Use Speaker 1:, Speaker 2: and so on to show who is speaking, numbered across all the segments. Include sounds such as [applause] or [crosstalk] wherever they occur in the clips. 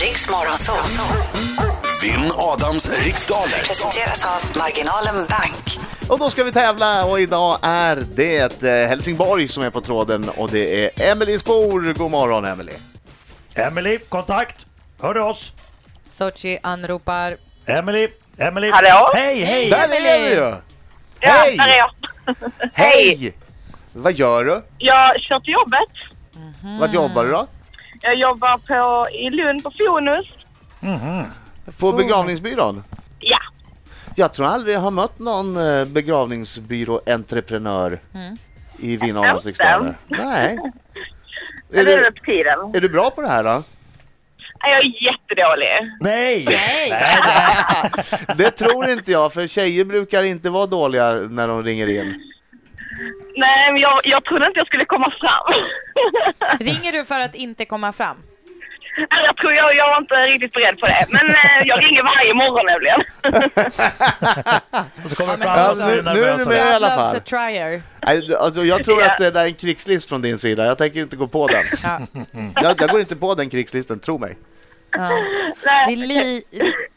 Speaker 1: Riks Morgonzoo.
Speaker 2: Vinn Adams riksdaler.
Speaker 1: Presenteras av Marginalen Bank.
Speaker 3: Och då ska vi tävla och idag är det eh, Helsingborg som är på tråden och det är Emelie Spor. God morgon Emelie.
Speaker 4: Emily, kontakt. Hör du oss?
Speaker 5: Sochi anropar.
Speaker 4: Emily, Emily.
Speaker 6: Hallå?
Speaker 4: Hej, hej!
Speaker 3: Där är du ju!
Speaker 6: Ja,
Speaker 3: Hej!
Speaker 6: där är jag.
Speaker 3: Hej! Vad gör du?
Speaker 6: Jag kör till jobbet. Mm.
Speaker 3: Vart jobbar du då?
Speaker 6: Jag jobbar på, i Lund på Fonus.
Speaker 3: På begravningsbyrån?
Speaker 6: Ja.
Speaker 3: Jag tror aldrig jag har mött någon eh, begravningsbyråentreprenör
Speaker 6: Mm.
Speaker 3: i Vinn Adams
Speaker 6: Inte.
Speaker 3: riksdaler.
Speaker 6: [laughs]
Speaker 3: Nej.
Speaker 6: Är
Speaker 3: Är
Speaker 6: det är
Speaker 3: du,
Speaker 6: upp tiden.
Speaker 3: är du bra på det här då?
Speaker 6: Nej, Jag är jättedålig.
Speaker 4: Nej!
Speaker 5: Hej!
Speaker 3: Det tror inte jag, för tjejer brukar inte vara dåliga när de ringer in.
Speaker 6: Nej, men jag, jag trodde inte jag skulle komma fram. [laughs]
Speaker 5: Ringer du för att inte komma fram?
Speaker 6: Nej, jag tror jag, jag var inte riktigt beredd på det. Men eh, jag ringer varje morgon [laughs] nämligen.
Speaker 4: Och så kommer fram
Speaker 3: Ja,
Speaker 4: och så
Speaker 3: nu-
Speaker 4: är du
Speaker 3: nu är du med.
Speaker 4: nervös. Med.
Speaker 3: I alla
Speaker 5: Loves
Speaker 3: fall.
Speaker 5: a trier.
Speaker 3: Nej, d- Alltså, jag tror
Speaker 6: Ja.
Speaker 3: att det där är en krigslist från din sida. Jag tänker inte gå på den.
Speaker 5: Ja.
Speaker 3: Jag, jag går inte på den krigslisten, tro mig.
Speaker 5: Ja. Det, är
Speaker 6: Nej,
Speaker 5: li,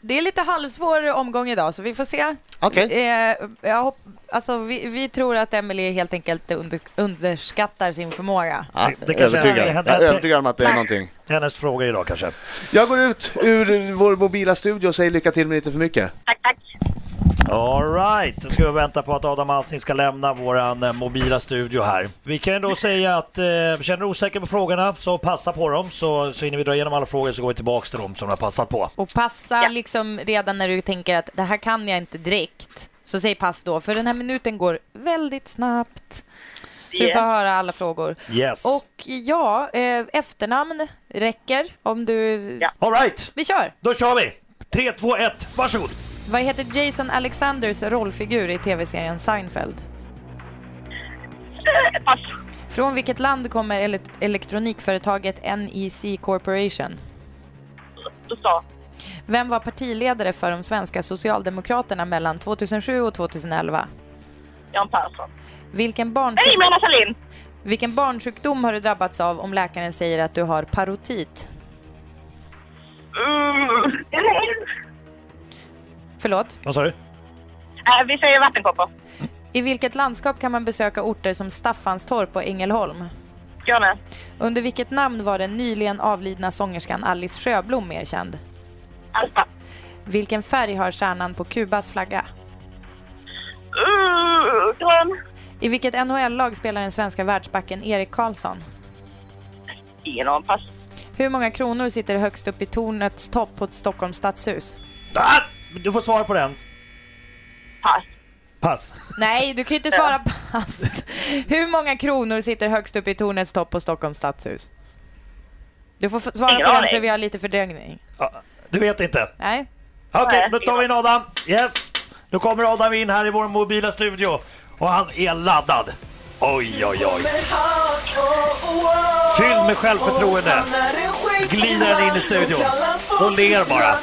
Speaker 5: det är lite halvsvår omgång idag, så vi får se.
Speaker 3: Okej.
Speaker 5: Eh, jag hopp, alltså, vi, vi tror att Emily helt enkelt under, underskattar sin förmåga.
Speaker 3: Ja,
Speaker 4: det kanske
Speaker 3: övertygad.
Speaker 4: är-
Speaker 3: Jag är övertygad om att det är någonting.
Speaker 4: Hennes fråga idag kanske.
Speaker 3: Jag går ut ur vår mobila studio och säger lycka till men inte för mycket.
Speaker 6: tack, tack.
Speaker 4: Alright, då ska vi vänta på att Adam Alsing ska lämna våran eh, mobila studio här. Vi kan ju då säga att eh, känner du osäker på frågorna så passa på dem så, så hinner vi dra igenom alla frågor så går vi tillbaks till dem som du har passat på.
Speaker 5: Och passa liksom redan när du tänker att det här kan jag inte direkt. Så säg pass då, för den här minuten går väldigt snabbt. Så du får
Speaker 6: Yeah.
Speaker 5: höra alla frågor.
Speaker 4: Yes.
Speaker 5: Och ja, eh, efternamn räcker om du...
Speaker 6: Ja.
Speaker 4: Alright,
Speaker 5: Vi kör!
Speaker 4: då kör vi! 3, 2, 1, varsågod!
Speaker 5: Vad heter Jason Alexanders rollfigur i tv-serien Seinfeld?
Speaker 6: Eh, Pass.
Speaker 5: Från vilket land kommer ele- elektronikföretaget NEC Corporation?
Speaker 6: USA.
Speaker 5: Vem var partiledare för de svenska socialdemokraterna mellan 2007 och 2011?
Speaker 6: Jan Persson.
Speaker 5: Vilken,
Speaker 6: Nej,
Speaker 5: barnsjuk-
Speaker 6: Mona Sahlin.
Speaker 5: vilken barnsjukdom har du drabbats av om läkaren säger att du har parotit?
Speaker 6: Mm. [laughs]
Speaker 5: Förlåt?
Speaker 4: Vad sa du?
Speaker 6: Eh, Vi säger vattenkoppor.
Speaker 5: I vilket landskap kan man besöka orter som Staffanstorp och Ängelholm?
Speaker 6: Skåne.
Speaker 5: Under vilket namn var den nyligen avlidna sångerskan Alice Sjöblom mer känd?
Speaker 6: Alpa.
Speaker 5: Vilken färg har stjärnan på Kubas flagga?
Speaker 6: Mm, Grön.
Speaker 5: I vilket NHL-lag spelar den svenska världsbacken Erik Karlsson?
Speaker 6: Ingen aning. Pass.
Speaker 5: Hur många kronor sitter högst upp i tornets topp på ett Stockholms stadshus?
Speaker 4: Ah! Du får svara på den.
Speaker 6: Pass.
Speaker 4: Pass.
Speaker 5: Nej, du kan ju inte svara pass. Hur många kronor sitter högst upp i tornets topp på Stockholms stadshus? Du får f- svara
Speaker 6: Ingen
Speaker 5: på den
Speaker 6: aning.
Speaker 5: för vi har lite fördröjning.
Speaker 4: Ah, Du vet inte?
Speaker 5: Nej?
Speaker 4: Okej,
Speaker 6: Nej.
Speaker 4: nu tar vi in Adam. Yes! Nu kommer Adam in här i vår mobila studio och han är laddad. Oj, oj, oj.
Speaker 7: Fylld med självförtroende. Glider han in i studion. Och ler bara.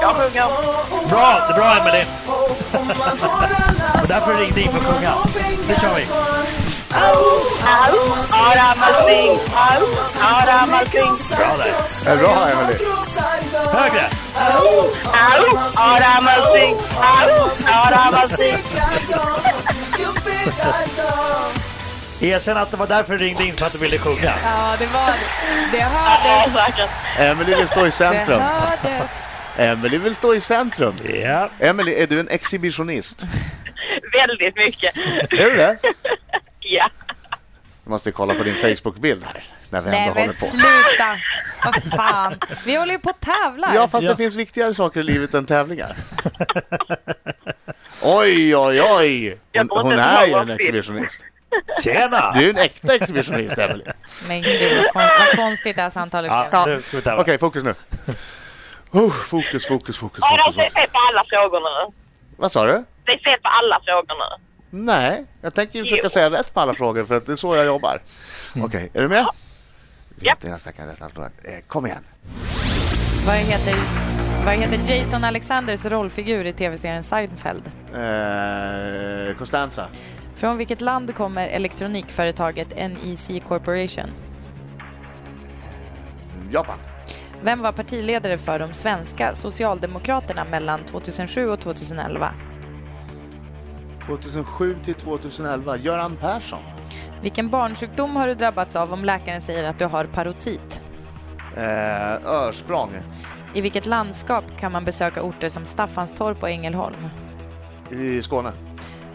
Speaker 6: Jag sjunger.
Speaker 7: Bra, det är bra Emelie. Och därför ringde in för att sjunga. Nu kör vi.
Speaker 6: Au, Adam Alsing. Au, Adam Alsing.
Speaker 7: Bra där.
Speaker 3: Det är bra, Emelie.
Speaker 7: Högre.
Speaker 6: Au, Adam Alsing. Au, Adam Alsing.
Speaker 4: Erkänn att det var därför du ringde in, för att du ville sjunga.
Speaker 5: Ja, det var det. Det
Speaker 6: Ja,
Speaker 5: hördes.
Speaker 6: säkert.
Speaker 3: Emelie vill stå i
Speaker 5: Det
Speaker 3: centrum.
Speaker 5: hördes.
Speaker 3: Emelie vill stå i centrum.
Speaker 4: Ja.
Speaker 3: Emelie, är du en exhibitionist?
Speaker 6: Väldigt mycket.
Speaker 3: Är du det?
Speaker 6: Ja.
Speaker 3: Jag måste kolla på din Facebook-bild här, när vi
Speaker 5: Nej,
Speaker 3: ändå håller
Speaker 5: men
Speaker 3: på.
Speaker 5: sluta. Vad fan. Vi håller ju på och tävlar.
Speaker 3: Ja, fast
Speaker 4: Ja.
Speaker 3: det finns viktigare saker i livet än tävlingar. Oj, oj, oj!
Speaker 6: Jag
Speaker 3: Hon,
Speaker 6: tror inte
Speaker 3: hon
Speaker 6: det
Speaker 3: är
Speaker 6: var
Speaker 3: ju en
Speaker 6: fint.
Speaker 3: exhibitionist.
Speaker 4: Tjena!
Speaker 3: Du är en äkta [laughs] exhibitionist, Emelie.
Speaker 5: Men gud, vad kon- vad konstigt det här samtalet blev.
Speaker 4: Ja, nu ska vi tävla.
Speaker 3: Okej, fokus nu. Oh, fokus, fokus, fokus,
Speaker 6: Adam,
Speaker 3: fokus,
Speaker 6: det är
Speaker 3: fokus.
Speaker 6: fel på alla frågor nu.
Speaker 3: Vad sa du?
Speaker 6: Det är fel på alla frågor nu.
Speaker 3: Nej, jag tänker ju försöka
Speaker 6: Jo.
Speaker 3: säga rätt på alla frågor för att det är så jag jobbar. Okej, är du med? Vi
Speaker 6: Ja.
Speaker 3: låter den här stackaren läsa snabbt. Eh, Kom igen.
Speaker 5: Vad heter, vad heter Jason Alexanders rollfigur i tv-serien Seinfeld?
Speaker 3: Eh, Costanza.
Speaker 5: Från vilket land kommer E elektronikföretaget NEC Corporation?
Speaker 3: Japan.
Speaker 5: Vem var partiledare för de svenska socialdemokraterna mellan 2007 och 2011?
Speaker 3: 2007 till 2011, Göran Persson.
Speaker 5: Vilken barnsjukdom har du drabbats av om läkaren säger att du har parotit?
Speaker 3: Eh, Örsprång.
Speaker 5: I vilket landskap kan man besöka orter som Staffanstorp och Ängelholm?
Speaker 3: I Skåne.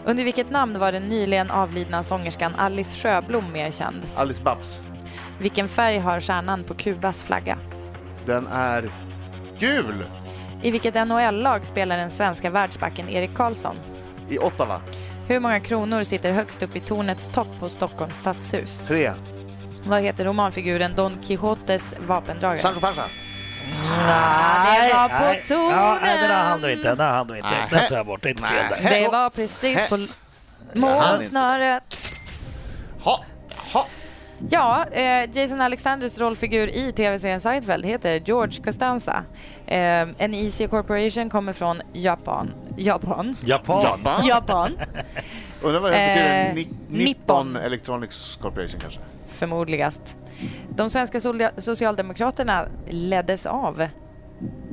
Speaker 5: Under vilket namn var den nyligen avlidna sångerskan Alice Sjöblom mer känd?
Speaker 3: Alice Babs.
Speaker 5: Vilken färg har stjärnan på Kubas flagga?
Speaker 3: Den är gul
Speaker 5: I vilket NHL-lag spelar den svenska världsbacken Erik Karlsson?
Speaker 3: i Ottawa.
Speaker 5: Hur många kronor sitter högst upp i tornets topp på Stockholms stadshus?
Speaker 3: Tre.
Speaker 5: Vad heter romanfiguren Don Quijotes vapendragare?
Speaker 3: Sancho Panza.
Speaker 5: det var på
Speaker 4: nej.
Speaker 5: tonen.
Speaker 4: Ja, nej, den där hann du inte. Den där hann du inte.
Speaker 3: Nej.
Speaker 4: Den tar jag bort. Det är inte fel där.
Speaker 3: Nej.
Speaker 5: Det var precis på målsnöret.
Speaker 3: Ha. Ha.
Speaker 5: Ja, eh, Jason Alexanders rollfigur i tv-serien Seinfeld heter George Costanza. Eh, NEC Corporation kommer från Japan. Japan.
Speaker 4: Japan.
Speaker 3: Japan.
Speaker 5: Japan.
Speaker 3: Undrar vad det betyder.
Speaker 5: Eh,
Speaker 3: Ni-
Speaker 5: Nippon.
Speaker 3: Nippon Electronics Corporation kanske.
Speaker 5: Förmodligast. De svenska sol- socialdemokraterna leddes av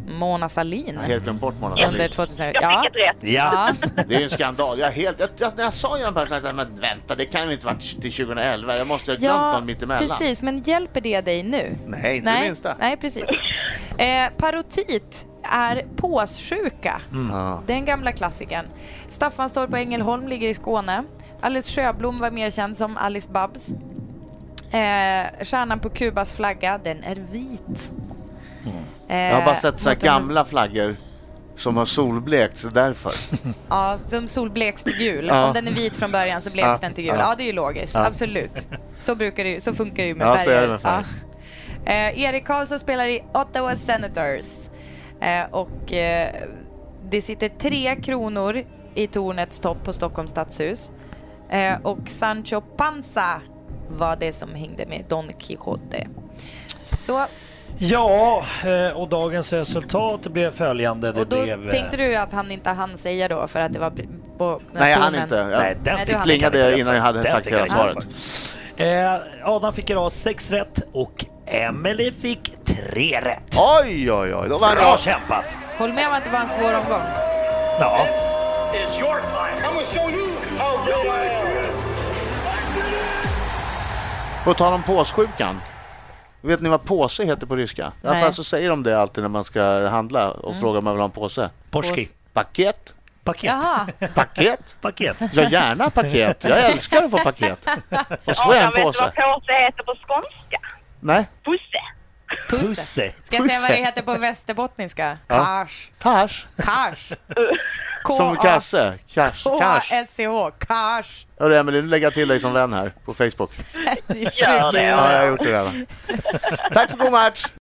Speaker 5: Mona Sahlin
Speaker 3: Jag har helt glömt bort Mona
Speaker 5: under
Speaker 3: Sahlin.
Speaker 5: 2000
Speaker 6: Jag
Speaker 5: Ja.
Speaker 6: fick ett rätt.
Speaker 4: Ja.
Speaker 3: Det är ju en skandal. Jag, är helt, jag, jag, när jag sa Göran Persson, jag tänkte, men vänta, det kan ju inte varit till 2011. Jag måste ha glömt
Speaker 5: Ja,
Speaker 3: någon mittemellan.
Speaker 5: precis. Men hjälper det dig nu?
Speaker 3: Nej, inte
Speaker 5: Nej,
Speaker 3: minsta.
Speaker 5: nej precis. Eh, parotit är påssjuka.
Speaker 3: Mm. Ja.
Speaker 5: Den gamla klassikern. Staffanstorp på Ängelholm ligger i Skåne. Alice Sjöblom var mer känd som Alice Babs. Eh, stjärnan på Kubas flagga, den är vit.
Speaker 3: Mm.
Speaker 5: Eh,
Speaker 3: Jag har bara sett så här
Speaker 5: mot en-
Speaker 3: gamla flaggor som har solblekt, så
Speaker 5: [laughs]
Speaker 3: därför.
Speaker 5: Ja, som solbleks till gul.
Speaker 3: Ja.
Speaker 5: Om den är vit från början så bleks
Speaker 3: Ja,
Speaker 5: den till gul.
Speaker 3: ja.
Speaker 5: Ja, det är ju logiskt. Absolut. Så, brukar det, ju- så funkar det ju med
Speaker 3: Ja, så
Speaker 5: färger.
Speaker 3: är det med färger.
Speaker 5: Ja. Eh, Erik Karlsson spelar i Ottawa Senators. Eh, och eh, det sitter tre kronor i tornets topp på Stockholms stadshus. Eh, och Sancho Panza var det som hängde med Don Quijote. Så,
Speaker 4: ja, eh, och dagens resultat blev följande. Det
Speaker 5: och då
Speaker 4: blev, eh,
Speaker 5: tänkte du att han inte hann säga då för att det var br- på den här
Speaker 3: Nej, jag hann
Speaker 5: tonen.
Speaker 3: inte. Jag
Speaker 4: Nej, den
Speaker 5: Nej, du
Speaker 4: fick
Speaker 5: hann
Speaker 3: plingade
Speaker 4: inte.
Speaker 3: innan jag hade
Speaker 4: Den
Speaker 3: sagt
Speaker 4: fick jag
Speaker 3: hela
Speaker 4: inte.
Speaker 3: svaret.
Speaker 4: Eh, Adam fick idag sex rätt och Emelie fick tre rätt.
Speaker 3: Oj, oj, oj. Då vann
Speaker 4: Bra
Speaker 3: jag.
Speaker 4: kämpat!
Speaker 5: Håll med om att det var en svår omgång.
Speaker 4: Ja.
Speaker 3: På tal om påssjukan. Vet ni vad påse heter på ryska? I alla
Speaker 5: Nej. Mm.
Speaker 3: fall så säger de det alltid när man ska handla och frågar om man vill ha en påse.
Speaker 4: Porski.
Speaker 3: Paket,
Speaker 4: Paket.
Speaker 5: Jaha.
Speaker 3: paket.
Speaker 4: Paket.
Speaker 3: Ja, gärna paket. Jag älskar att få paket. Och så får jag en
Speaker 6: Adam, vet du
Speaker 3: påse.
Speaker 6: vad påse heter på skånska?
Speaker 3: Nej,
Speaker 6: Pusse.
Speaker 5: Pusse.
Speaker 4: Pusse.
Speaker 5: Ska jag säga vad det
Speaker 3: Pusse.
Speaker 5: heter på västerbottniska?
Speaker 3: Ja.
Speaker 5: Kash.
Speaker 3: cash.
Speaker 5: Kash.
Speaker 3: Som kasse. Cash, cash.
Speaker 5: K-A-S-C-H. Kash.
Speaker 3: Hörru Emelie, nu lägger jag till dig som vän här på Facebook.
Speaker 5: Det är
Speaker 6: Gör det.
Speaker 5: sjukt.
Speaker 3: Ja, jag har gjort det redan. Tack för god match.